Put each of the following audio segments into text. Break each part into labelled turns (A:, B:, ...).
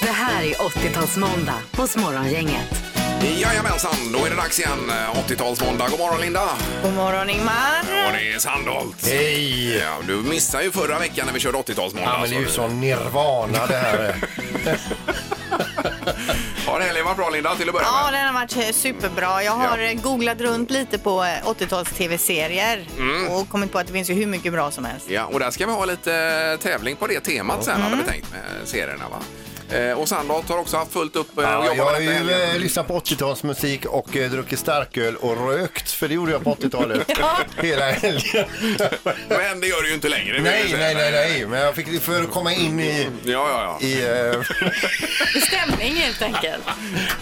A: här är 80-talsmåndag hos Morgongänget.
B: Jajamensan, då är det dags igen. 80-talsmåndag. God morgon Linda!
C: God morgon Ingmar!
B: Och det är Sandholt.
D: Hej!
B: Ja, du missade ju förra veckan när vi körde 80-talsmåndag.
D: Ja, men det är ju
B: så
D: som nirvana det här.
B: du- Har helgen varit bra Linda till att börja
C: Ja,
B: med?
C: den har varit eh, superbra. Jag har
B: Ja.
C: eh, googlat runt lite på eh, 80-tals tv-serier och kommit på att det finns ju hur mycket bra som helst.
B: Ja, och där ska vi ha lite eh, tävling på det temat sen hade vi tänkt med serierna va? Eh, Och Sandholt har också haft fullt upp eh, och
D: Ja, jag
B: jobbat
D: har
B: med
D: ju
B: detta
D: eh,
B: helgen.
D: lyssnat på 80-talsmusik och eh, druckit starköl och rökt, för det gjorde jag på 80-talet. Hela helgen.
B: Men det gör du ju inte längre. vill jag
D: nej,
B: säga.
D: nej, nej, nej, men jag fick det för att komma in i...
B: Ja, ja, ja.
D: i eh,
A: Stämning helt enkelt.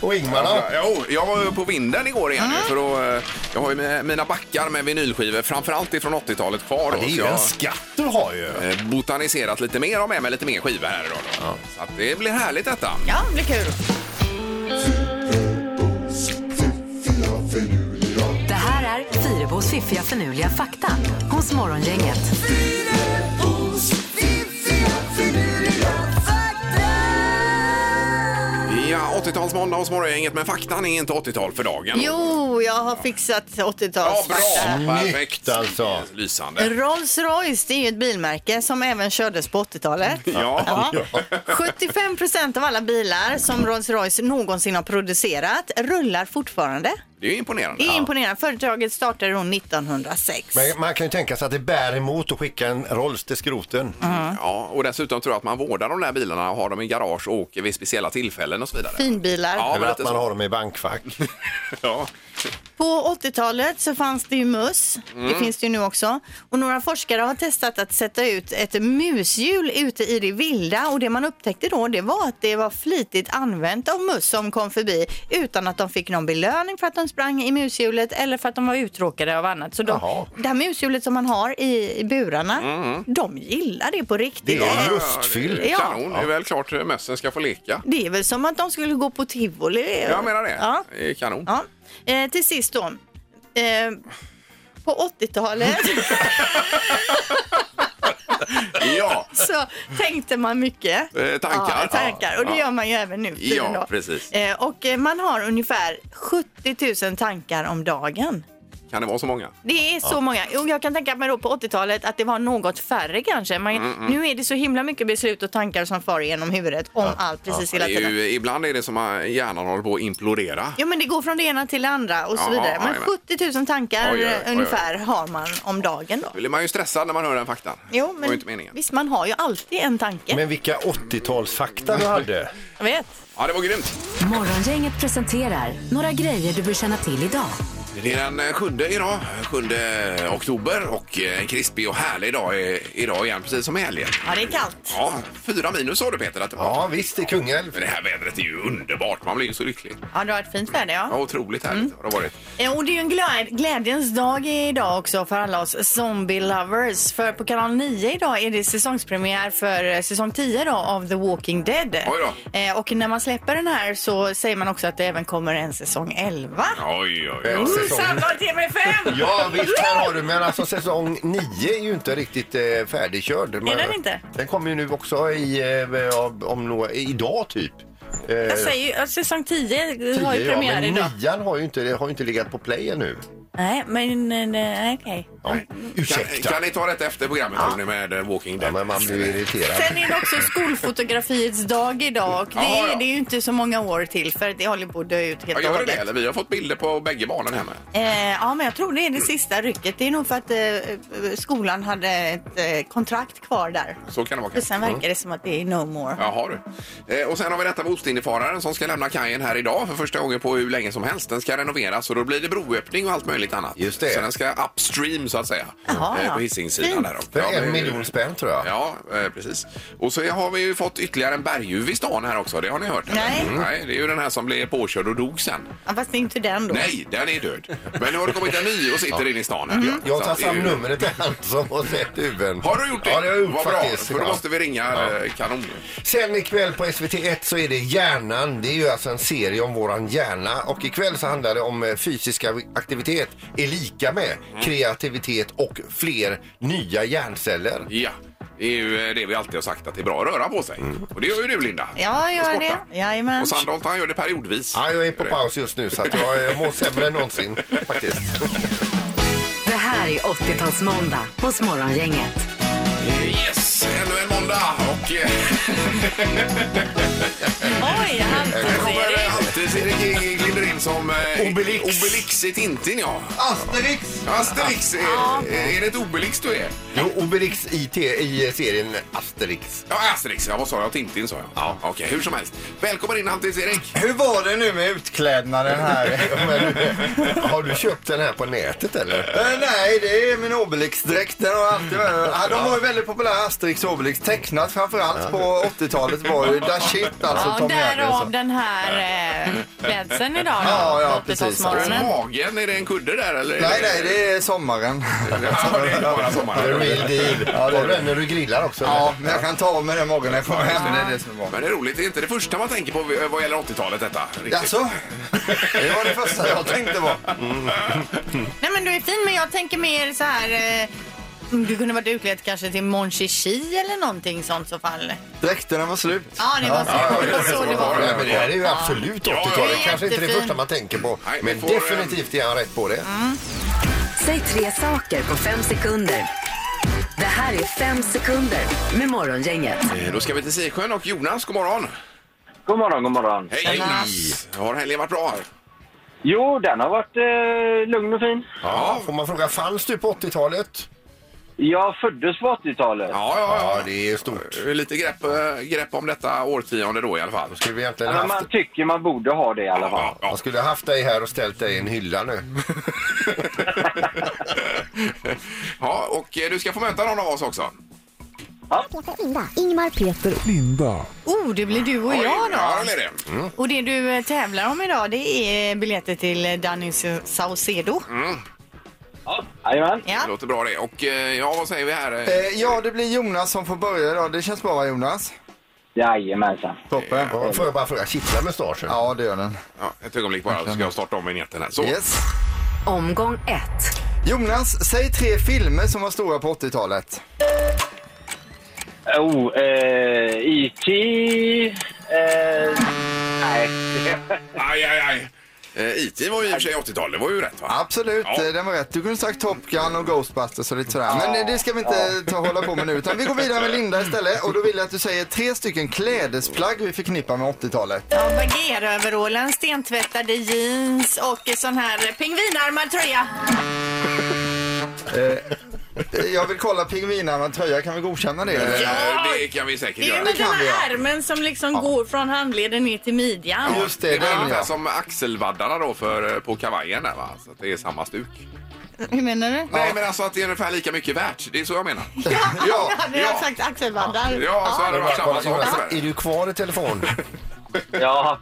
D: och Ingmar då?
B: Ja, Jo, jag var ju på vinden igår igen
D: Mm.
B: nu, för då, eh, jag har ju med- mina backar med vinylskivor, framförallt ifrån 80-talet kvar. Då,
D: Det är
B: så
D: ju
B: jag-
D: en skatt du har ju.
B: eh, botaniserat lite mer och med mig lite mer skivor här idag. Då. Så att det blir härligt detta.
C: Ja, det blir kul.
A: Det här är Fyrabos fiffiga förnuliga fakta hos Morgongänget.
B: Ja, 80-talsmåndag hos Morgongänget, men faktan är inte 80-tal för dagen.
C: Jo, jag har fixat
B: Ja,
C: 80-tals
B: bra! Perfekt!
D: Snyggt, alltså.
B: Lysande.
C: Rolls Royce det är ju ett bilmärke som även kördes på 80-talet.
B: Ja.
C: Ja. 75 procent av alla bilar som Rolls Royce någonsin har producerat rullar fortfarande.
B: det är ju imponerande.
C: Det är imponerande. Företaget startade år 1906.
D: Men man kan ju tänka sig att det bär emot att skicka en Rolls till skroten.
B: Ja, och dessutom tror jag att man vårdar de där bilarna och har dem i garage och åker vid speciella tillfällen och så vidare.
C: Finbilar.
B: Ja, men
D: Eller att
B: lite
D: man
B: så.
D: har dem i bankfack.
B: Ja.
C: På 80-talet så fanns det ju möss. Det finns det ju nu också. Och några forskare har testat att sätta ut ett mushjul ute i det vilda och det man upptäckte då det var att det var flitigt använt av möss som kom förbi utan att de fick någon belöning för att de sprang i mushjulet eller för att de var uttråkade av annat. Så de,
D: Jaha.
C: det här mushjulet som man har i, i burarna, de gillar det på riktigt.
D: Det är
B: Ja,
D: lustfyllt.
B: det är Kanon, det är väl klart eh, mössen ska få leka.
C: Det är väl som att de skulle gå på tivoli.
B: Jag menar det.
C: Ja.
B: Det är kanon.
C: Ja. Eh, till sist då. Eh, på 80-talet
B: Ja,
C: så tänkte man mycket.
B: Eh, tankar.
C: Ja, tankar. Och det
B: Ja.
C: gör man ju även nu för tiden
B: Ja,
C: då.
B: precis.
C: Eh, och eh, man har ungefär 70 000 tankar om dagen.
B: kan det vara så många?
C: Det är så många. Och jag kan tänka mig då på 80-talet att det var något färre kanske. Man,
B: Mm,
C: Nu är det så himla mycket beslut och tankar som far genom huvudet om allt precis hela
B: Det är
C: tiden.
B: ju, ibland är det som att hjärnan håller på att implodera.
C: Ja men det går från det ena till det andra och så
B: Ja,
C: vidare. Men
B: jajamän.
C: 70 000 tankar eh,
B: Oj, oj, oj, oj.
C: ungefär har man om dagen då.
B: Då blir man ju stressad när man hör den faktan.
C: Jo,
B: Det var
C: men
B: ju inte meningen.
C: visst man har ju alltid en tanke.
D: Men vilka 80-talsfakta du hade.
C: Jag vet.
B: Ja, det var grymt.
A: Morgongänget presenterar några grejer du bör känna till idag.
B: Det är den eh, sjunde idag, sjunde oktober och eh, en krispig och härlig dag är idag igen, precis som i helgen.
C: Ja, det är kallt.
B: Ja, fyra minus sa du Peter att det var.
D: Ja, visst, i Kungälv.
B: Men det här vädret är ju underbart, man blir ju så lycklig.
C: Ja, det har varit fint väder
B: Ja,
C: ja.
B: otroligt härligt
D: Mm.
B: har det varit.
C: Eh, Och det är ju en glä- glädjens dag idag också för alla oss zombie lovers. För på kanal 9 idag är det säsongspremiär för eh, säsong 10 då av The Walking Dead.
B: Oj
C: Eh, Och när man släpper den här så säger man också att det även kommer en säsong 11.
B: Oj, oj,
D: Eh,
B: oj.
D: säsong-
C: Samma TV5!
D: Ja visst, här har du. Men alltså säsong 9 är ju inte riktigt eh, färdigkörd. Men-
C: den inte?
D: Den kommer ju nu också i, eh, om- om några, idag typ. Eh,
C: Jag säger ju att säsong 10 har ju
D: tio, ja,
C: premiär
D: men
C: idag.
D: nian har ju inte, har ju inte legat på play ännu.
C: Nej, men nej, nej, okej.
D: Ja,
B: Kan,
D: ursäkta.
B: kan ni ta detta efter programmet ja. nu med eh, Walking
D: ja,
B: Dead?
D: men man blir ju irriterad.
C: Sen är det också skolfotografiets dag idag och det
B: Ja, ja.
C: är det är ju inte så många år till för det håller på att dö ut
B: Ja,
C: helt och
B: gör det det?
C: hållet.
B: Eller vi har fått bilder på bägge barnen hemma.
C: Eh, ja, men jag tror det är det sista rycket. Det är nog för att eh, skolan hade ett eh, kontrakt kvar där.
B: Så kan det vara
C: Och
B: kanske.
C: sen verkar det som att det är no more.
B: Jaha du. Eh, och sen har vi detta med Ostindiefararen som ska lämna kajen här idag för första gången på hur länge som helst. Den ska renoveras och då blir det broöppning och allt möjligt annat.
D: Just det.
B: Så den ska upstream så att säga. Eh,
C: Jaha, ja.
B: på Hisingssidan
C: Fint.
B: där. då.
D: För
B: Ja, det-
D: en miljon spänn tror jag.
B: Ja, eh, precis. Och så har vi ju fått ytterligare en berguv i stan här också. Det har ni hört? eller? Mm.
C: Nej.
B: Nej, det är ju den här som blev påkörd och dog sen.
C: Ja, fast det är inte den då.
B: Nej, den är död. Men nu har det kommit en ny och sitter inne i stan här. Så
D: Mm. Jag tar
B: att det är
D: fram
B: ju-
D: numret till han som har sett UVn.
B: Har du gjort det?
D: Ja, det har jag gjort
B: Vad
D: faktiskt.
B: bra, för då
D: Ja.
B: måste vi ringa ja. kanon.
D: Sen ikväll på SVT1 så är det Hjärnan. Det är ju alltså en serie om våran hjärna. Och ikväll så handlar det om eh, fysisk aktivitet är lika med kreativitet och fler nya hjärnceller.
B: Ja. Det är ju eh, det vi alltid har sagt att det är bra att röra på sig.
E: Mm.
B: Och det gör ju du Linda.
C: Ja, jag gör
B: Och sporta.
C: det. Jajamän.
B: Och Sandholt han gör det periodvis.
D: Ja, jag är på paus just nu så att jag eh, mår sämre än någonsin faktiskt.
A: Det här är 80-talsmåndag hos Morgongänget.
B: Yes, ännu en måndag och eh,
F: Oj,
B: här kommer eh,
F: Halvtids-Erik.
B: alltid Erik glider in som eh,
D: Obelix.
B: Obelix i Tintin ja.
E: Asterix!
B: Asterix, eh, eh, är det ett Obelix du är?
D: Jo, Obelix IT i serien Asterix.
B: Ja, Asterix, ja, vad sa jag? Tintin sa jag. Ja. Okej, hur som helst. Välkommen in Halvtids-Erik.
E: Hur var det nu med utklädnaden här?
D: Men, har du köpt den här på nätet eller?
E: Eh, Nej, det är min Obelix-dräkt. Den har alltid varit. Ja, de var ju väldigt populära, Asterix och Obelix. Tecknat framförallt på 80-talet var ju da shit alltså.
F: Ja,
E: Tom Jerry och så.
F: därav den här eh, klädseln idag. då,
E: Ja, ja,
F: på
E: precis.
B: Och
C: Mm.
F: Åttiotalsmorgonen.
B: magen, är det en kudde där eller?
E: Nej, nej, det är sommaren.
B: Ja, det är bara
D: The
B: sommaren.
D: real deal.
E: Ja, det är
D: Var
E: det.
D: den när du grillar också?
E: Ja,
D: eller?
E: men jag kan ta av mig den morgonen jag kommer hem. Det är det som är bra.
B: Men det är roligt, det är inte det första man tänker på eh, vad gäller 80-talet detta. riktigt.
E: Jaså? Det var det första jag tänkte på.
C: Nej men du är fin men jag tänker mer så här. Eh, du kunde varit utklädd kanske till Mon Chichi eller någonting sånt så fall.
E: Dräkterna var slut.
C: Ja det var så, det var så det var.
D: Nej, men det här är ju absolut
B: Ja,
D: 80-talet.
B: ja.
D: Kanske inte det
C: Jättefin.
D: första man tänker på.
B: Nej, vi
D: Men
B: får, eh, Mm.
D: definitivt är han rätt på det.
A: Säg tre saker på fem sekunder. Det här är fem sekunder med Morgongänget.
B: Eh, Då ska vi till Sisjön och Jonas, god morgon.
G: God morgon, god morgon.
B: Hej Jonas! Har helgen varit bra?
G: Jo, den har varit eh, lugn och fin.
D: Ja, får man fråga, fanns du på 80-talet?
G: Jag föddes på 80-talet.
B: Ja, ja,
D: det är stort.
B: ja. Lite grepp, eh, grepp om detta årtionde då i alla fall.
D: Skulle vi egentligen
G: Men man
D: haft...
G: tycker man borde ha det i alla fall.
B: Ja, ja.
D: Jag skulle haft dig här och ställt dig i en hylla nu.
B: ja, och eh, du ska få möta någon av oss också.
H: Ingmar, Peter och
C: Oh det blir du och
B: Oj,
C: jag
B: Ja,
C: då.
B: det är det.
C: Och det du eh, tävlar om idag det är biljetter till eh, Danny Saucedo.
G: Ja. Jajamän.
B: Det
C: Ja.
B: låter bra det. Och eh, ja, vad säger vi här? Eh,
E: Eh, Ja, det blir Jonas som får börja idag. Det känns bra va Jonas?
G: Jajamensan.
E: Toppen.
D: Ja, Får jag bara fråga, kittlar mustaschen?
E: Ja, det gör den.
B: Ja, ett ögonblick bara, så ska jag starta om vignetten här. Så.
E: Yes.
A: Omgång ett.
E: Jonas, säg tre filmer som var stora på 80-talet.
G: Oh, eh, IT... Eh, nej.
B: Aj, aj, aj. Eh, IT var ju i och för sig 80-tal, det var ju rätt va?
E: Absolut,
B: Ja.
E: eh, den var rätt. Du kunde sagt Top Gun och Ghostbusters och lite sådär. Men eh, det ska vi inte ta hålla på med nu. Utan vi går vidare med Linda istället. Och då vill jag att du säger tre stycken klädesplagg vi förknippar med 80-talet.
C: Ja, Bageröverallen, stentvättade jeans och eh, sån här eh, pingvinarmad tröja.
E: Eh, Jag vill kolla pingvinarna tröja, kan vi godkänna det? eller?
B: Eh, Det kan vi säkert
C: Det är
B: göra.
C: ju med
E: kan
C: den
E: vi göra.
C: här ärmen som liksom går från handleden ner till midjan.
E: Just det,
B: Det var
E: den
B: ungefär
E: ja.
B: som axelvaddarna då för, eh, på kavajen där va? Så att det är samma stuk.
C: Hur menar du?
B: Nej men alltså att det är ungefär lika mycket värt, det är så jag menar.
C: Ja,
E: Ja,
C: hade jag
B: ja.
C: sagt axelvaddar.
B: Ja, så hade det varit samma sak.
D: Jonas, är du kvar i telefon?
G: Ja,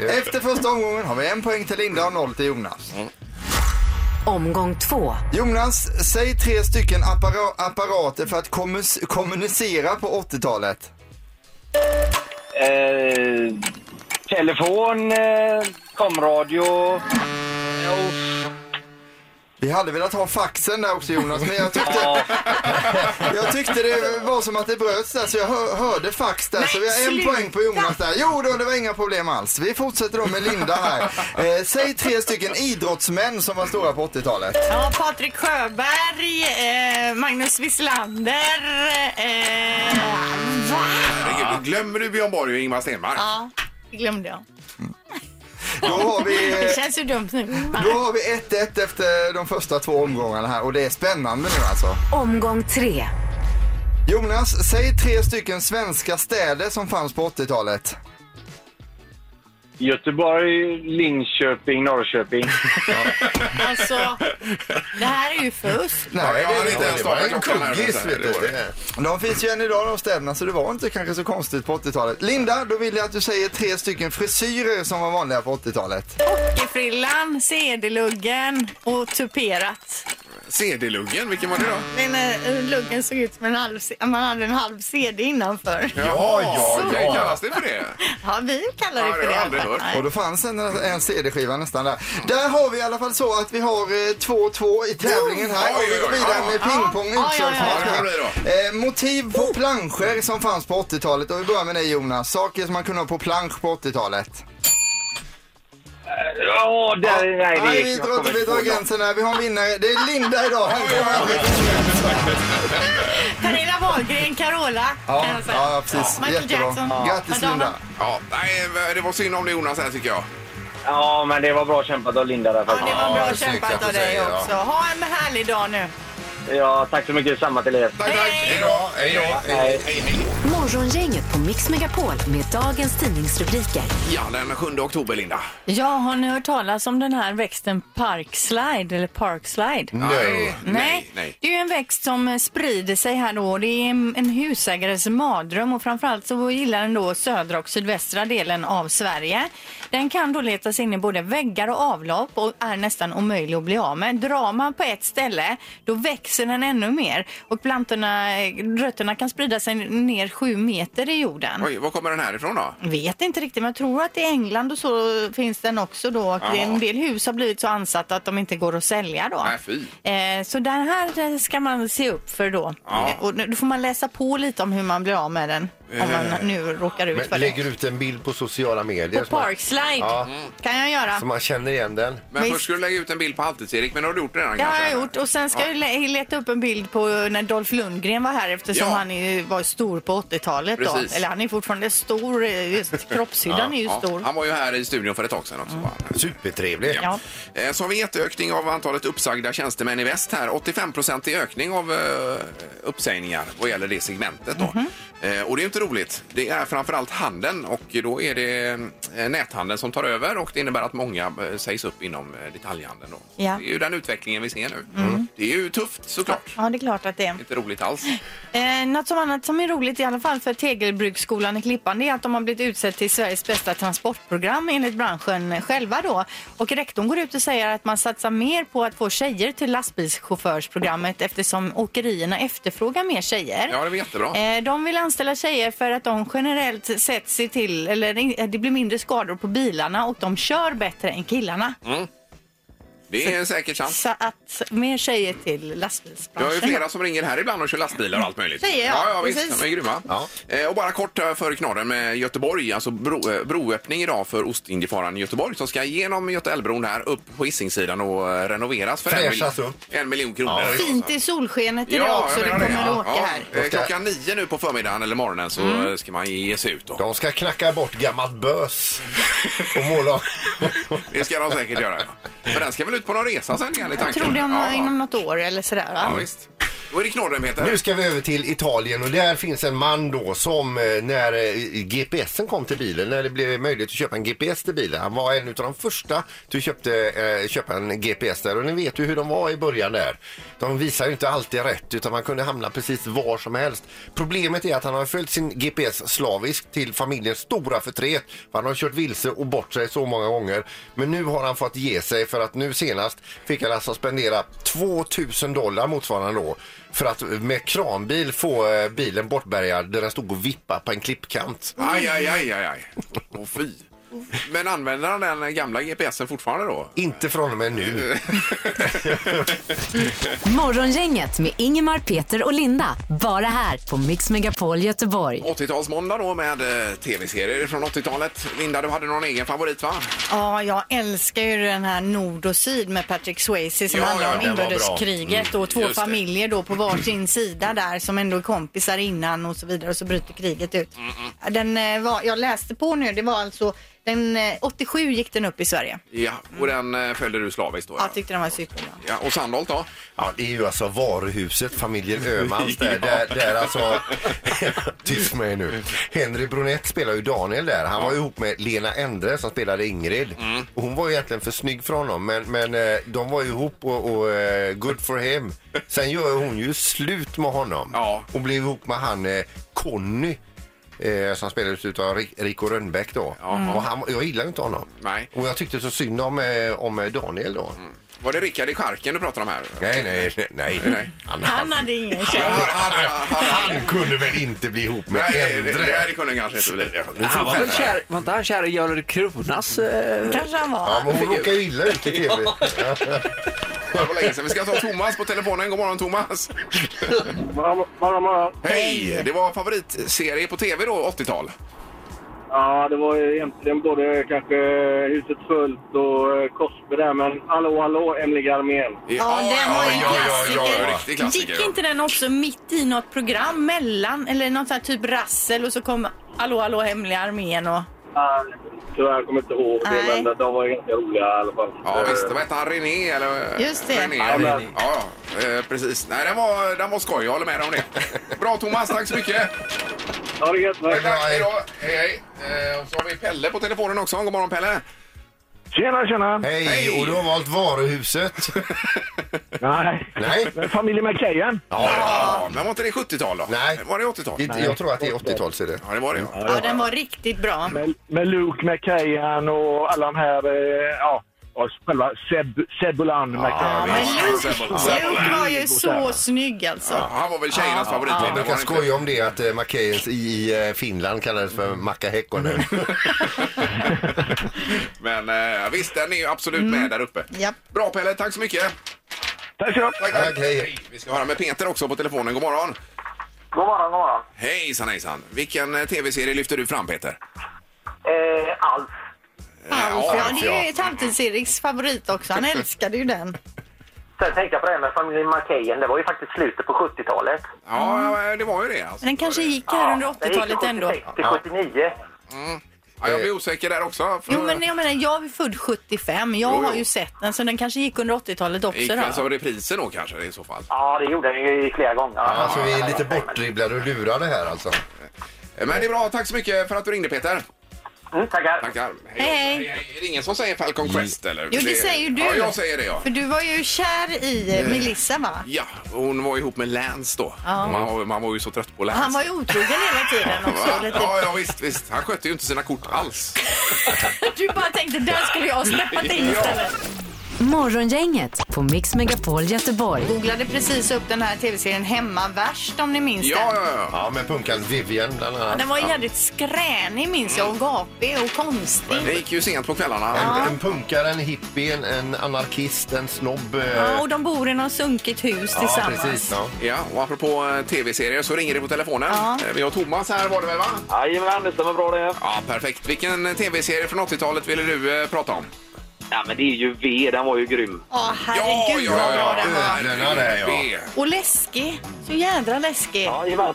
G: nej.
E: Efter första omgången har vi en poäng till Linda och noll till Jonas.
A: Omgång två.
E: Jonas, säg tre stycken appara- apparater för att kommus- kommunicera på 80-talet.
G: Eh, telefon, eh, komradio... Jo,
E: Vi hade velat ha faxen där också Jonas, men jag tyckte,
G: ja.
E: jag tyckte det var som att det bröts där så jag hör, hörde fax där. så vi har en poäng på Jonas där. Jo då, det var inga problem alls. Vi fortsätter då med Linda här. Eh, säg tre stycken idrottsmän som var stora på 80-talet.
C: Ja, Patrik Sjöberg, eh, Magnus Wislander. Eh, va?
B: Herregud, då glömmer du Björn Borg och Ingmar Stenmark.
C: Ja, det glömde jag.
E: Då har vi... eh,
C: Det känns ju dumt nu.
E: Då har vi 1-1 efter de första två omgångarna här och det är spännande nu alltså.
A: Omgång tre.
E: Jonas, säg tre stycken svenska städer som fanns på 80-talet.
G: Göteborg, Linköping, Norrköping.
C: Alltså, det här är ju fusk.
B: Ja, jag har
E: det-
B: inte ens
D: Det var
B: startat
D: en
B: klockan här.
D: kuggis, vet
B: Det var
D: du.
B: det.
E: De finns ju än idag de städerna så det var inte kanske så konstigt på 80-talet. Linda, då vill jag att du säger tre stycken frisyrer som var vanliga på 80-talet.
C: Hockeyfrillan, sedeluggen och tuperat.
B: CD-luggen, vilken var det då?
I: Men eh, luggen såg ut som en halv, se- man hade en halv CD innanför.
B: Jaha,
D: ja,
B: så
D: ja.
B: kallas det för det.
I: Ja, vi kallar
B: Ja,
I: det för
B: det har jag
I: det. i alla
B: aldrig
I: fall.
B: hört.
I: Nej.
E: Och då fanns en, en CD-skiva nästan där. Där har vi i alla fall så att vi har eh, 2-2 i tävlingen här.
B: Oj,
E: Och vi
B: oj,
E: går
B: oj.
E: vidare
B: Ja.
E: med pingpong
C: Ja,
B: ja, ja.
E: utslagsmatch.
B: Ja,
E: Eh, motiv på planscher som fanns på 80-talet. Och vi börjar med dig Jonas. Saker som man kunde ha på plansch på 80-talet.
J: Ja, där, nej, det
E: vi
J: gick jag
E: drar,
J: kommer
E: vi
J: inte
E: drar
J: ihåg.
E: gränsen här. Vi har en vinnare. Det är Linda idag.
I: Pernilla Wahlgren, Carola.
E: Ja,
C: Kan jag säga.
E: ja precis.
I: Michael Jackson.
E: Jättebra. Grattis
C: Madonna.
E: Linda.
B: Ja, nej, eh, det var synd om det Jonas här tycker jag.
J: Ja, men det var bra kämpat av Linda där
I: Ja, det
J: faktiskt.
I: var
D: Ja,
I: bra
D: det tycker jag att
I: kämpat
D: du
I: av dig
D: säger, ja.
I: också. Ha en härlig dag nu.
J: Ja, tack så mycket. Samma till er.
B: Tack, tack. Hej då.
D: Ja, hej då.
J: Hej.
A: Morgongänget på Mix Megapol med dagens tidningsrubriker.
B: Ja, den 7 oktober Linda.
C: Ja, har ni hört talas om den här växten parkslide eller parkslide?
B: Nej, nej.
C: Nej.
B: nej.
C: det är ju en växt som eh, sprider sig här då. Det är en en husägares mardröm och framförallt så gillar den då södra och sydvästra delen av Sverige. Den kan då leta sig in i både väggar och avlopp och är nästan omöjlig att bli av med. Drar man på ett ställe då växer den ännu mer och plantorna, eh, rötterna kan sprida sig ner sju meter i jorden.
B: Oj, var kommer den här ifrån då?
C: Vet inte riktigt, men jag tror att i England och så finns den också då. Och
B: Jaha.
C: en del hus har blivit så ansatta att de inte går att sälja då.
B: Nej, fy.
C: Eh, så den här ska man se upp för då.
B: Ja.
C: Eh, Och nu- då får man läsa på lite om hur man blir av med den. Om
B: Eh.
C: man nu råkar ut för
D: Men
C: det.
D: lägger ut en bild på sociala medier
C: På
D: så man,
C: Parkslide
D: Ja.
C: kan jag göra.
D: så man känner igen den.
B: Men
C: Visst.
B: först skulle du lägga ut en bild på Halvtids-Erik, men det har du gjort redan
C: Det har
B: kanske?
C: jag
B: eller?
C: gjort och sen ska
B: Ja.
C: jag le- leta upp en bild på när Dolph Lundgren var här eftersom
B: Ja.
C: han är, var stor på 80-talet då.
B: Precis.
C: Eller han är fortfarande stor, eh, just kroppshyddan är ju
B: Ja,
C: stor. Mm.
B: Han var ju här i studion för ett tag sedan också. va?
D: Supertrevlig.
C: Ja.
B: Eh, Så har vi jätteökning av antalet uppsagda tjänstemän i väst här. 85 i ökning av eh, uppsägningar vad gäller det segmentet. Då.
C: Mhm.
B: Eh, Och det är inte roligt. Det är framförallt handeln och då är det eh, näthandeln som tar över och det innebär att många eh, sägs upp inom eh, detaljhandeln. Då.
C: Ja. Mm.
B: Det är ju den utvecklingen vi ser nu. Det är ju tufft såklart.
C: Ja, det är klart att det är.
B: Inte roligt alls.
C: Eh, något som annat som är roligt i alla fall för Tegelbruksskolan i Klippan det är att de har blivit utsett till Sveriges bästa transportprogram enligt branschen själva då. Och rektorn går ut och säger att man satsar mer på att få tjejer till lastbilschaufförsprogrammet eftersom åkerierna efterfrågar mer tjejer.
B: Ja, det var jättebra.
C: Eh, De vill anställa tjejer för att de generellt sett ser till, eller eh, det blir mindre skador på bilarna och de kör bättre än killarna.
B: Mm. Det är säkert sant.
C: Så att mer tjejer till
B: Vi
C: lastbilsbranschen.
B: har ju flera som ringer här ibland och kör lastbilar och allt möjligt.
C: Säger jag,
B: ja, ja visst.
C: precis.
B: De är grymma.
D: Ja.
B: Eh, och bara kort här före knorren med Göteborg, alltså bro, eh, broöppning idag för Ostindiefararen i Göteborg som ska igenom Götaälvbron här upp på Hisingssidan och eh, renoveras för en,
D: Fräschas
B: mil-
D: upp.
B: en miljon kronor.
D: Ja.
C: Fint i solskenet idag
B: Ja,
C: också.
B: jag
C: Det
B: menar
C: kommer
B: det.
C: att åka
B: ja,
C: här. Mm.
B: Eh, Klockan nio nu på förmiddagen eller morgonen så eh, ska man ge sig ut. Då.
D: De ska knacka bort gammalt bös och måla.
B: Det ska de säkert göra. Men den ska väl ut på någon resa sen enligt
C: Jag tror det om, inom något år eller sådär. Va?
B: ja, visst. Då är det knorren Peter.
D: Nu ska vi över till Italien och där finns en man då som eh, när eh, GPSen kom till bilen, när det blev möjligt att köpa en GPS till bilen. Han var en av de första som köpte eh, köpa en GPS där och ni vet ju hur de var i början där. De visar ju inte alltid rätt utan man kunde hamna precis var som helst. Problemet är att han har följt sin GPS slaviskt till familjens stora förtret. För han har kört vilse och bort sig så många gånger. Men nu har han fått ge sig för att nu senast fick han alltså spendera 2000 dollar motsvarande då för att med kranbil få eh, bilen bortbärgad där den stod och vippa på en klippkant.
B: Aj, aj, aj, aj, aj. Åh, fy. Men använder han den gamla GPSen fortfarande då?
D: Inte från och med nu.
A: Morgongänget med Ingemar, Peter och Linda. Bara här på Mix Megapol Göteborg.
B: 80-talsmåndag då med eh, tv-serier från 80-talet. Linda, du hade någon egen favorit va?
I: Ja, jag älskar ju den här Nord och Syd med Patrick Swayze som
B: Ja,
I: handlar
B: ja,
I: om
B: den var Mm,
I: inbördeskriget och två
B: just det.
I: familjer då på varsin sida där som ändå är kompisar innan och så vidare och så bryter kriget ut.
B: Mm,
I: Den eh, var, jag läste på nu, det var alltså den eh, 87 gick den upp i Sverige.
B: Ja, och den eh, följde du slaviskt då?
I: Jag tyckte den var superbra.
B: ja, och Sandholt då?
D: Ja, det är ju alltså varuhuset, familjen Öhmans där, där, där alltså... Tyst med er nu. Henry Brunett spelar ju Daniel där. Han var ju ihop med Lena Endre som spelade Ingrid.
B: Mm.
D: Och hon var ju egentligen för snygg för honom men, men eh, de var ju ihop och, och eh, good for him. Sen gör hon ju slut med honom
B: Ja.
D: och blev ihop med han eh, Conny. Eh, som spelades av Rico Rönnbäck då. Och han, jag gillar ju inte honom.
B: Nej. Mm.
D: Och jag tyckte så synd om, eh, om eh, Daniel då.
B: Var det Rickard i Charken du pratade om här?
D: Nej, nej, nej. nej.
B: Nej.
D: Han,
C: Han hade ingen tjej.
D: han, han, han kunde väl inte bli ihop med
B: Nej, det,
D: äldre?
B: det, det kunde kanske inte bli.
K: Han var väl kär, var inte han kär i Görel Kronas? Eh,
C: Kanske han var.
D: Ja, men hon råkar ju illa ut i tv.
B: Det var länge sedan. Vi ska ta Thomas på telefonen. God morgon Thomas!
J: Morgon, morgon, morgon.
B: Hej! Det var favoritserie på tv då, 80-tal.
J: Ja, det var ju egentligen både kanske Huset fullt och eh, Cosby där, men hallå, hallå, Emily Armén.
C: Ja, den var en
B: ja, ja, ja,
C: klassiker.
B: ja, riktig klassiker.
C: Gick inte den också mitt i något program mellan eller något sånt här typ rassel och så kom Hallå hallå hemliga armén och
J: Ah, Tyvärr kommer jag inte ihåg det,
C: Nej.
J: men de var ju ganska roliga i alla fall.
B: Ja,
J: Eh,
B: visst. Vad hette han? René? Eller? eh,
L: Just det.
B: René.
J: Ja,
B: Ja,
J: men-
B: ja, eh, precis. Nej, den var, den var skoj. Jag håller med dig om det. Bra Thomas, tack så mycket.
J: Ha det gött, va?
B: Tack, hej då. Hej, hej. Eh, och så har vi Pelle på telefonen också. God morgon Pelle.
J: Tjena, tjena!
D: Hej, och du har valt varuhuset.
J: Nej.
D: Nej.
J: Men Familjen McKayen.
B: Ja, men var inte det 70-tal då?
D: Nej.
B: Var det 80-tal?
D: Inte- Jag tror att det är 80-tal, ser det.
B: Ja, det var det. Ja.
C: ja, den var riktigt bra.
J: Med, med Luke McKayen och alla de här, eh, ja, och själva Seb, Sebulan
C: Ja,
J: McKayen.
C: men
B: Ja,
C: Luke,
B: Sebbe-
C: Luke var ju så snygg alltså.
B: Han var väl tjejernas favorit?
D: Jag brukar skoja om det att eh, Mackays i, i eh, Finland kallades för Macka Häkkonen.
B: Men eh, visst, den är ju absolut med där uppe.
L: Mm. Japp.
B: Bra Pelle, tack så mycket.
J: Tack så mycket!
B: Tack,
D: Tack, hej.
B: Vi ska höra med Peter också på telefonen. God morgon.
J: God morgon, god morgon.
B: Hejsan hejsan. Vilken eh, tv-serie lyfter du fram Peter?
J: Eh, alls.
L: Alf,
B: ja,
L: ja, det är
B: ja.
L: ju Tantes-Eriks favorit också. Han älskade ju den.
J: Sen tänkte jag på det här med familjen McKayen. Det var ju faktiskt slutet på 70-talet.
B: Ja, eh, det var ju det. Alltså.
C: Ah. Men den kanske gick här under 80-talet ändå.
J: till 79.
B: Ja, jag blir osäker där också. För...
C: Jo men jag menar jag är född 75. Jag
B: Jo, jo.
C: har ju sett den så den kanske gick under 80-talet
B: Gick alltså-
C: också
B: väl
C: då.
B: som repriser då kanske i så fall.
J: Ja, det gjorde den ju flera gånger.
D: Alltså vi är lite bortdribblade och lurade här alltså.
B: Eh, Men det är bra. Tack så mycket för att du ringde Peter.
J: Mm, tackar.
B: Tackar.
C: Hej, hej. Mm.
B: Är det ingen som säger Falcon Quest eller?
L: Jo, det säger ju du.
B: Ja, jag säger det ja.
L: För du var ju kär i eh, Melissa va?
B: Ja, hon var ihop med Lance då.
C: Ja.
B: Man, var- man var ju så trött på Lance.
C: Han var ju otrogen hela tiden
B: Va?
C: också. Lite.
B: Ja, ja, visst, visst. Han skötte ju inte sina kort alls.
C: Du bara tänkte där skulle jag släppa till istället.
A: Morgongänget på Mix Megapol Göteborg.
L: Googlade precis upp den här tv-serien Hemma värst om ni minns
B: Ja,
L: den.
B: ja, ja.
D: Ja, med punkaren Vivian bland annat.
C: Den var jävligt skränig minns jag och gapig och
B: Det
C: konstig.
B: gick ju sent på kvällarna.
D: En, en punkare, en hippie, en, en anarkist, en snobb. eh,
C: Ja, och de bor i något sunkigt hus
D: ja
C: tillsammans.
D: precis. Ja.
B: Ja, och apropå eh, tv-serier så ringer det på telefonen. Eh, Vi har Thomas här var det väl va?
J: Jajamän, det stämmer bra det.
B: Ja, perfekt. Vilken eh, tv-serie från 80-talet ville du eh, prata om?
J: Ja, men det är ju V, den var ju grym.
L: Ja, herregud vad bra den var.
D: ja. Den här är, ja.
B: B.
L: Och läskig. Så jädra läskig.
J: Jajamän.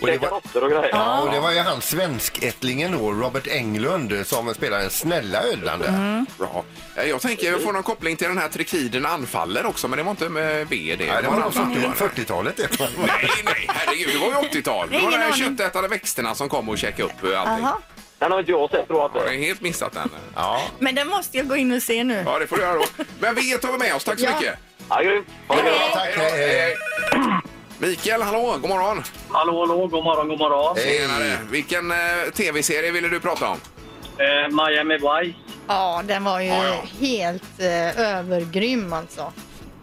D: Och det var-
J: råttor och grejer.
D: Ja, och det var ju han svenskättlingen då, Robert Englund, som spelar den snälla ödlan där.
B: Bra. Eh, Jag tänker jag får någon koppling till den här Trikiden anfaller också, men det var inte med V det.
D: Nej, det var nog
B: en annan.
D: 40- 40-talet det.
B: Nej, nej, herregud, det var ju 80-tal. Det var de
C: Ingen
B: här
C: aning.
B: köttätande växterna som kom och käkade upp eh, allting.
L: Jaha.
J: Den har inte jag sett tror jag
B: Jag har
J: inte.
B: helt missat den.
D: Ja,
C: Men den måste jag gå in och se nu.
B: Ja, det får du göra då. Men V tar vi med oss. Tack så
C: Ja.
B: mycket.
J: Ja, grymt. Ha det gött.
D: tack.
B: Hej då.
D: Hej, hej.
B: Mikael, hallå, god morgon.
J: Hallå, hallå, god morgon, god morgon.
D: Hej.
B: Tjenare. Vilken eh, tv-serie ville du prata om?
J: Eh, Miami Vice.
L: Ja, den var ju helt eh, övergrym alltså.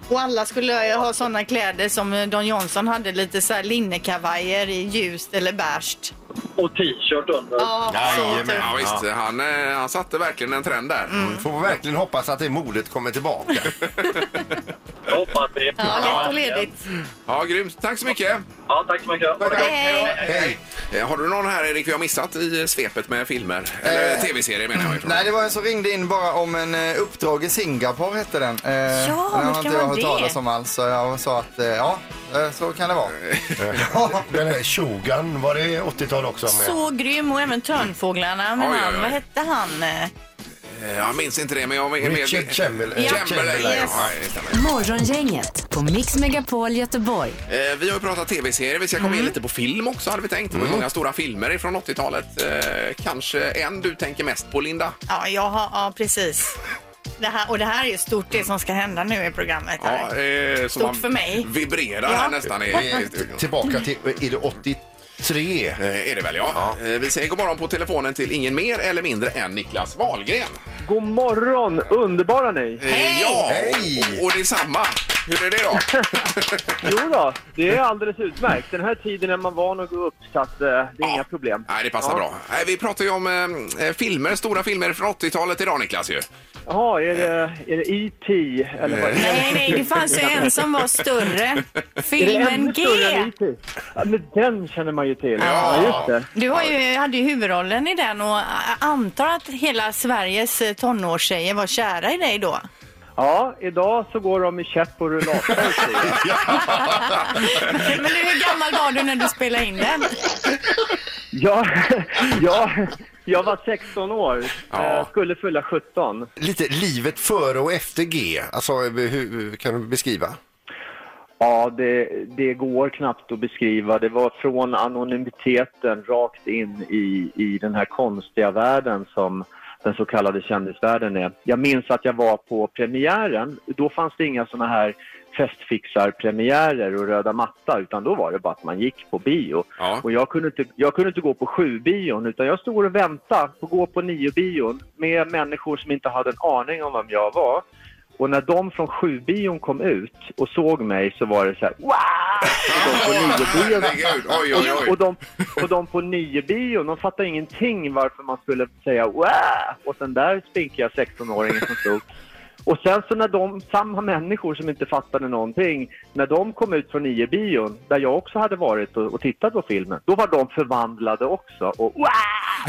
L: Och alla skulle eh, ha såna kläder som eh, Don Johnson hade, lite så här linnekavajer i ljust eller beige.
J: Och t-shirt under.
L: Ja, så
D: Jajamän.
L: tur.
B: Ja, visst, Han, eh, han satte verkligen en trend där.
L: Mm.
D: Får vi verkligen hoppas att det modet kommer tillbaka.
J: Jag hoppas det.
C: Ja, lätt och ledigt.
B: Ja, grymt. Tack så mycket.
J: Ja, tack så mycket. Ha det gott.
C: Hej, hej.
D: Hej.
B: Eh, Har du någon här, Erik, vi har missat i svepet med filmer? Eller
E: Eh,
B: tv-serier menar jag. ju.
E: Nej, det var en som ringde in bara om en eh, uppdrag i Singapore hette den. Eh, den
C: vilken
E: har inte
C: var
E: jag hört
C: det?
E: talas om alls. Så jag sa att eh, ja, eh, så kan det vara.
D: Den här Shogun, var det 80-tal också? Med?
C: Så grym och även Törnfåglarna med
B: Oj, oj, oj.
C: han. Vad hette han? Eh,
B: Eh, Jag minns inte det, men jag... är mer-
D: Richard Chamberlain.
B: Chamberlain.
D: Chamberlain,
B: ja, det stämmer.
A: Morgongänget på Mix Megapol Göteborg.
B: Eh, Vi har ju pratat tv-serier. Vi ska komma in lite på film också, hade vi tänkt. Det var ju många stora filmer från 80-talet. Eh, Kanske en du tänker mest på, Linda?
L: Ja, jag har, ja precis. Det här, och det här är ju stort det som ska hända nu i programmet. Här.
B: Ja, eh,
C: Stort för mig.
B: vibrerar
C: Ja.
B: här nästan. I,
D: Vi är Tillbaka till, är det 83?
B: Eh, är det väl, ja. Eh, Vi säger god morgon på telefonen till ingen mer eller mindre än Niklas Wahlgren.
J: God morgon, underbara ni!
B: Hej! Ja,
D: Hej!
B: Och, och detsamma. Hur är det då?
J: Jo då, det är alldeles utmärkt. Den här tiden är man van att gå upp så att eh, det är inga problem.
B: Nej, det passar
J: Ja.
B: bra. Nej, vi pratar ju om eh, filmer, stora filmer från 80-talet idag Niklas ju.
J: Jaha, är det, är det E.T. eller vad är det?
F: Nej, nej, det fanns ju en som var större.
J: Är det
F: Filmen
J: ännu
F: G.
J: större än E.T.? Ja, men den känner man ju till.
B: Ja.
J: just det.
F: Du har ju, hade ju huvudrollen i den och a- antar att hela Sveriges eh, tonårstjejer var kära i dig då.
J: Ja, idag så går de i käpp och rullator.
F: Men du, hur gammal var du när du spelade in den?
J: ja, ja, jag var 16 år,
B: Ja.
J: Eh, skulle fylla 17.
D: Lite livet före och efter G. Alltså, hur, hur kan du beskriva?
J: Ja, det, det går knappt att beskriva. Det var från anonymiteten rakt in i, i den här konstiga världen som den så kallade kändisvärlden är. Jag minns att jag var på premiären. Då fanns det inga såna här festfixarpremiärer och röda matta utan då var det bara att man gick på bio.
B: Ja.
J: Och jag kunde, inte, jag kunde inte gå på sju-bion utan jag stod och väntade på att gå på nio-bion med människor som inte hade en aning om vem jag var. Och när de från sju-bion kom ut och såg mig så var det så här wow! Och de på nio-bion
B: Herregud, oj, oj, oj.
J: och de, och de på nio-bion, de fattar ingenting varför man skulle säga wow åt den där spinkiga 16-åringen som stod. Och sen så när de, samma människor som inte fattade någonting, när de kom ut från nio-bion, där jag också hade varit och, och tittat på filmen, då var de förvandlade också. Och wow!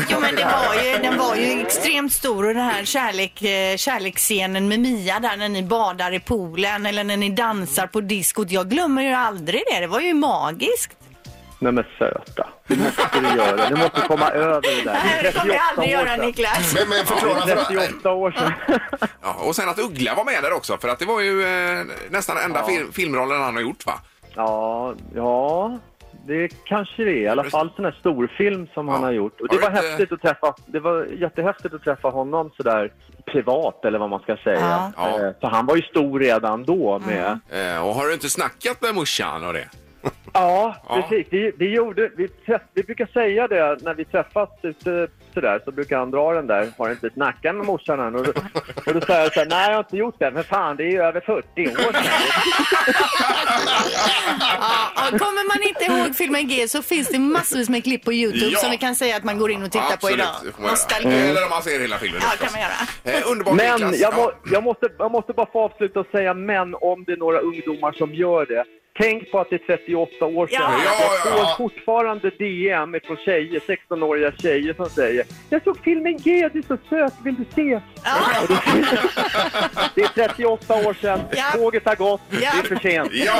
F: Jo, men det var ju, den var ju extremt stor och den här kärlek, eh, kärleksscenen med Mia där när ni badar i poolen eller när ni dansar på diskot. Jag glömmer ju aldrig det. Det var ju magiskt.
J: Nej men söta, det måste du göra. Du måste komma över det där.
F: Nej, det kommer jag
J: 38
F: aldrig
J: år
F: göra
J: sedan.
F: Niklas.
D: Men, men förklara
J: Det är
D: för
J: 38 år sedan.
B: Ja, och sen att Uggla var med där också, för att det var ju eh, nästan enda fil- filmrollen han har gjort va?
J: Ja, ja, det kanske det är. I alla fall sån här storfilm som han
B: Ja.
J: har gjort. Och
B: Har
J: det
B: du
J: var
B: inte-
J: häftigt att träffa, det var jättehäftigt att träffa honom sådär privat eller vad man ska säga.
B: Ja.
J: Eh, För han var ju stor redan då med.
F: Mm.
B: Eh, och har du inte snackat med morsan och det?
J: Ja,
B: Ja.
J: precis. Vi, vi, gjorde, vi, träff, vi brukar säga det när vi träffas ute sådär så brukar han dra den där, har du inte snackat med morsan än? Och, då- och då säger jag såhär, nej jag har inte gjort det, men fan det är ju över 40 år sedan.
F: Ja, ja, kommer man inte ihåg filmen G så finns det massvis med klipp på Youtube
B: Ja.
F: som vi kan säga att man går in och tittar på
B: Absolut, det
F: idag.
B: får man göra. Eh,
F: Nostalgi.
B: Eller om man ser hela filmen.
F: Ja,
B: förstås.
F: kan man göra.
B: Eh, underbart
J: Men
B: Niklas.
J: jag, må,
B: Ja.
J: jag, måste, jag måste bara få avsluta och säga men om det är några ungdomar som gör det. Tänk på att det är 38 år sedan.
F: Ja.
B: Ja, ja,
J: Jag
B: ja.
J: får fortfarande DM från tjejer, 16-åriga tjejer som säger Jag såg filmen G, du är så söt, vill du se? Och då- det är 38 år sedan,
F: Ja.
J: tåget har gått,
F: Ja.
J: det är för sent.
B: Ja,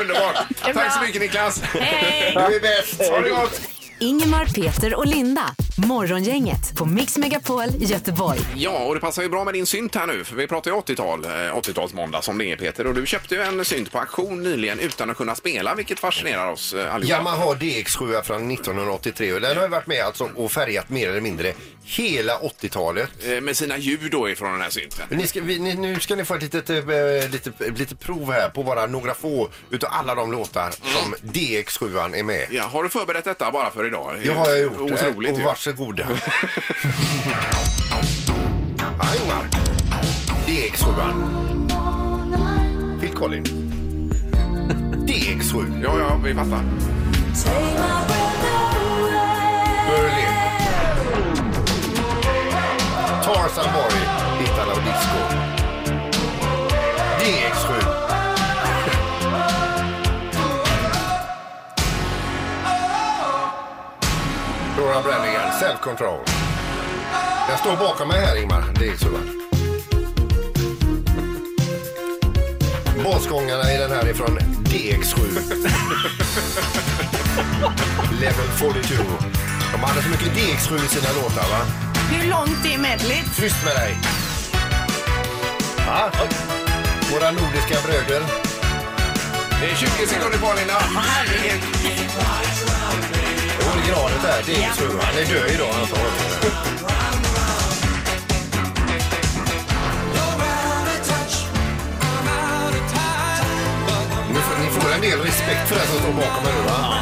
B: underbart.
F: är
B: Tack så
F: bra.
B: mycket Niklas.
F: Hej!
D: Du är bäst!
B: Ha det gott.
A: Ingemar, Peter och Linda. Morgongänget på Mix Megapol i Göteborg.
B: Ja, och det passar ju bra med din synt här nu, för vi pratar ju 80-tal, eh, 80-talsmåndag som det är Peter. Och du köpte ju en synt på auktion nyligen utan att kunna spela, vilket fascinerar oss eh, allihopa.
D: Yamaha DX7 från 1983 och den har ju varit med alltså och färgat mer eller mindre hela 80-talet.
B: Eh, Med sina ljud då ifrån den här synten.
D: Ni ska, vi, ni, nu ska ni få ett litet, eh, lite, lite prov här på bara några få utav alla de låtar
B: Mm.
D: som DX7 är med.
B: Ja, har du förberett detta bara för idag?
D: Det har jag gjort. eh,
B: Otroligt
D: och
B: ju.
D: varsågoda. Jajamän. DX7. Phil Collins. DX7.
B: Ja, ja, vi fattar.
D: Berlin. Tarzan Boy. Italo Disco. DX7. Laura Bränningar, Self Control. Jag står bakom mig här, Ingmar. DX7. Basgångarna i den här är från DX7. Level 42. De hade så mycket DX7 i sina låtar, va?
F: Hur långt är medlet?
D: Tyst med dig! Va? Våra nordiska bröder.
B: Det är 20 sekunder kvar, Linda.
D: Originalet där, DX7. Han är död idag, han sa. Ni får- Ni får en del respekt för det som står bakom er nu, va?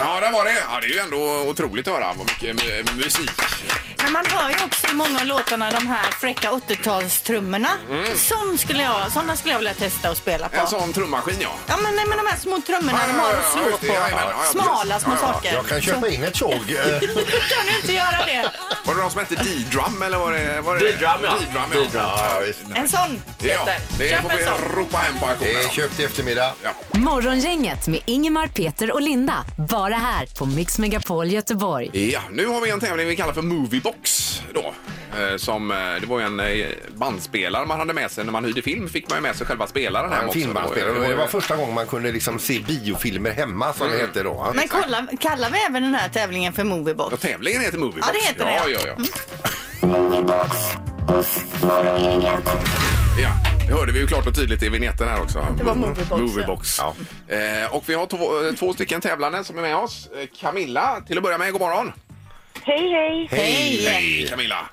B: Ja, där var det. Ja, det är ju ändå otroligt att höra vad mycket mu- musik.
F: Men man hör ju också i många av låtarna de här fräcka 80-talstrummorna. Sån skulle jag, såna skulle jag vilja testa att spela på.
B: En sån trummaskin, Mm. ja.
F: Ja men, nej, men de här små trummorna de har att slå
B: just det.
F: på.
B: Ja, jajamän. Ja, ja,
F: Smala
B: precis.
F: små
B: Ja, ja.
F: saker.
D: Jag kan köpa in ett tjog. eh,
F: Kan du inte göra det?
B: Var det någon som hette D-drum eller var det? Var det?
H: D-drum, ja.
B: D-drum, ja.
D: Ja, visst.
F: En sån
B: Ja,
F: Peter.
B: det
F: Köp
B: får
F: en
B: vi
F: sån.
B: ropa hem på auktionen.
D: Det är
B: ja.
D: köpt i eftermiddag.
A: Morgongänget med Ingemar, Peter och Linda. Bara här på Mix Megapol Göteborg.
B: Ja, nu har vi en tävling vi kallar för Moviebox. Då. Eh, Som, eh, det var ju en eh, bandspelare man hade med sig. När man hyrde film fick man ju med sig själva spelaren
D: Ja,
B: hem
D: en
B: också.
D: filmbandspelare.
B: Det var ju-
D: Det var första gången man kunde liksom se biofilmer hemma som det hette då.
C: Men kolla, kallar vi även den här tävlingen för Moviebox?
B: Ja, tävlingen heter Moviebox.
C: Ja, det heter
B: ja,
C: det.
B: Ja, ja, ja. Det hörde vi ju klart och tydligt i vignetten här också. Det
C: var Moviebox, ja.
B: Moviebox. Eh, och vi har två, två stycken tävlande som är med oss. Eh, Camilla, till att börja med, god morgon.
M: Hej, hej!
B: Hej! Hej Camilla!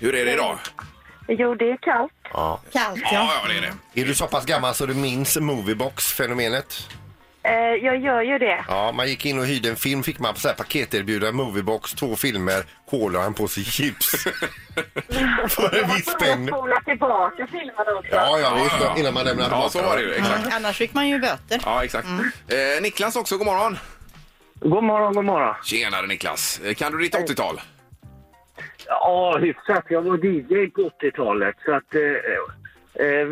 B: Hur är det idag?
M: Jo, det är kallt.
C: Kallt ja.
B: Ja, ja, det är det.
D: Är du så pass gammal så du minns Moviebox-fenomenet?
M: Eh, jag gör ju det.
D: Ja, man gick in och hyrde en film, fick man så här paketerbjudande Moviebox, två filmer, cola och en påse chips. För en viss
M: Jag
D: peng.
M: spolar tillbaka filmerna också.
D: Ja,
B: Ja,
D: ja,
B: ja, ja.
D: visst. Innan man lämnar
B: Ja, så var det ju. Exakt.
C: Annars fick man ju böter.
B: Ja, exakt.
C: Mm.
B: Eh, Niklas också, god morgon.
J: God morgon, god morgon.
B: Tjenare Niklas. Eh, Kan du ditt 80-tal?
J: Ja, hyfsat. Jag var DJ på 80-talet, så att... Eh, eh,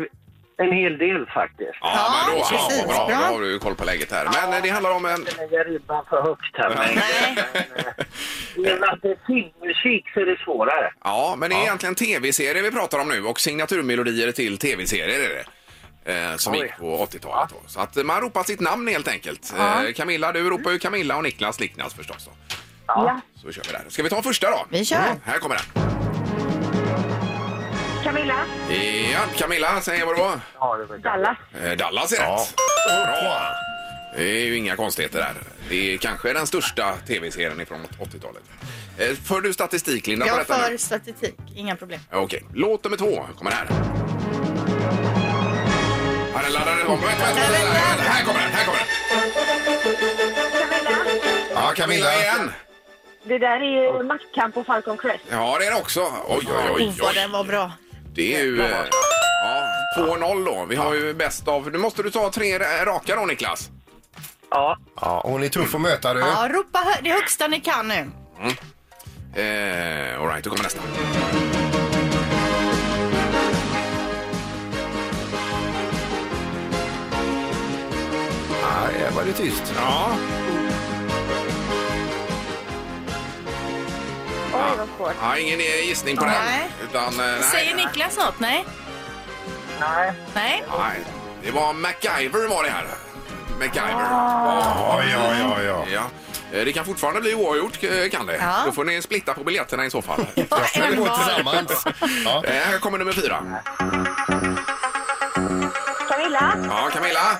J: en hel del faktiskt.
C: Ja,
B: men då,
C: precis.
B: Ja, bra,
C: Bra.
B: då har du ju koll på läget här. Men eh, det handlar om en...
J: Jag lägger ribban för högt här, men... I och med att det är filmmusik så är det svårare.
B: Ja, men det är egentligen tv-serier vi pratar om nu och signaturmelodier till tv-serier är det. Eh, som
J: Oj.
B: gick på 80-talet. då. Så att eh, man ropar sitt namn helt enkelt. Eh, Camilla, du ropar ju Camilla och Niklas Liknas förstås. Då.
M: Ja.
B: Så kör vi där. Ska vi ta första då? Mm,
C: Vi kör.
B: Här kommer den.
M: Camilla,
B: Ja, Camilla, säg vad det var.
M: Dallas.
B: Eh, Dallas är rätt. Bra! Det är ju inga konstigheter där. Det är kanske den största tv-serien ifrån 80-talet. Eh, För du statistik, Linda, på
C: Jag
B: detta
C: för
B: nu?
C: statistik, inga problem.
B: Okej, låt nummer två kommer här. Ja, den laddar den om. Vänta, vänta, vänta, vänta. Här kommer den, här kommer den.
M: Camilla,
D: Ja, Camilla.
B: Camilla igen.
M: det där är maktkamp på Falcon Crest.
B: Ja, det är det också. Oj, oj, oj.
C: Oh, vad den
B: oj.
C: var bra.
B: Det är ju... eh, Ja, 2-0 då. Vi har ju bäst av... Nu måste du ta tre ra- raka då, Niklas.
J: Ja.
D: Ja, hon är tuff att möta du.
C: Ja, ropa hö- det högsta ni kan nu.
B: Eh, all right, då kommer nästa.
D: Ja, här var Ah, det tyst.
B: Ja.
M: Oj, vad svårt.
B: Ja, ingen eh, gissning på
C: Nej.
B: den. Utan, eh, nej.
F: Säger Niklas något? Nej?
J: Nej.
F: Nej?
B: Nej. Det var MacGyver var det här. MacGyver.
D: Ja, ja, ja, ja.
B: Ja. Eh, Det kan fortfarande bli oavgjort, eh, kan det.
C: Ja.
B: Då får ni splitta på biljetterna i så fall.
D: Nu går vi tillsammans. Ja.
B: Eh, Här kommer nummer fyra.
M: Camilla,
B: Ja, Camilla.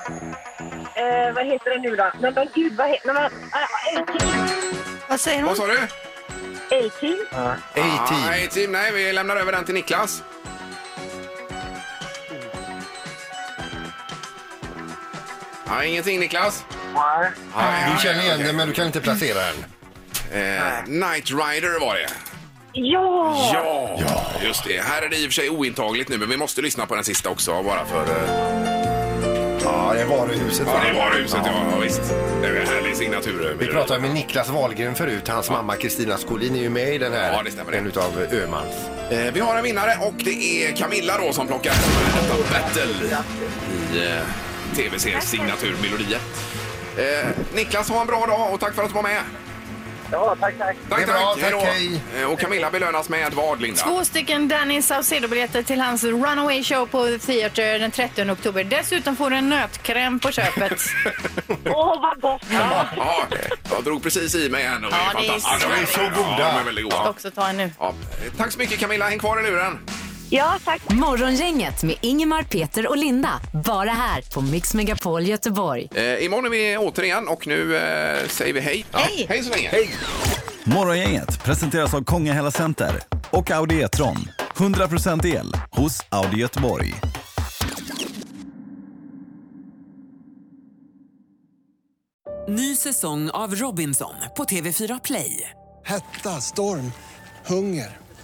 M: eh, vad heter den nu då? Nej, men eh, gud, vad heter den? A-Team.
C: Vad säger
B: Vad
C: hon?
B: sa du?
M: A-Team.
B: Ah,
D: A-team.
B: A-team. Nej, vi lämnar över den till Niklas. Ja, ingenting Niklas.
J: Nej.
B: Nej,
D: Du känner
B: nej,
D: igen
B: okej.
D: den men du kan inte placera den.
B: Eh, Night Rider var det.
M: Ja!
B: Ja. just det. Här är det i och för sig ointagligt nu, men vi måste lyssna på den sista också bara för... eh,
D: Ja, det var det huset.
B: Ja,
D: va?
B: det var huset, ja. ja visst. Det är en härlig signatur. eh,
D: Vi pratade med Niklas Wahlgren förut. Hans mamma Kristina Skolin är ju med i den här.
B: Ja, det stämmer det.
D: En utav Ömans.
B: Eh, vi har en vinnare och det är Camilla då som plockar hem detta battle i eh, tv-serien Signaturmelodier. Eh, Niklas, ha en bra dag och tack för att du var med.
J: Ja, tack, tack.
B: Tack,
D: Det är bra,
B: tack.
D: tack,
B: Hej då. Eh, och Camilla belönas med vad, Linda?
F: Två stycken Danny Saucedo-biljetter till hans Runaway Show på The Theatre den 30 oktober. Dessutom får du en nötkräm på köpet.
M: Åh, vad gott!
B: Ja, jag drog precis i mig en. och
F: Ja, det är
B: fantastiskt.
F: så
B: Ja,
D: goda.
B: Ja, de är väldigt
F: Ska
B: goda.
F: också ta en nu.
B: Ja. eh, Tack så mycket Camilla, häng kvar i luren.
M: Ja, tack.
A: Morgongänget med Ingemar, Peter och Linda. Bara här på Mix Megapol Göteborg.
B: Eh, imorgon är vi återigen och nu eh, säger vi hej. Hej! Hej så länge!
N: Morgongänget presenteras av Kongahälla Center och Audi E-tron. 100% el hos Audi Göteborg.
A: Ny säsong av Robinson på TV4 Play.
E: Hetta, storm, hunger.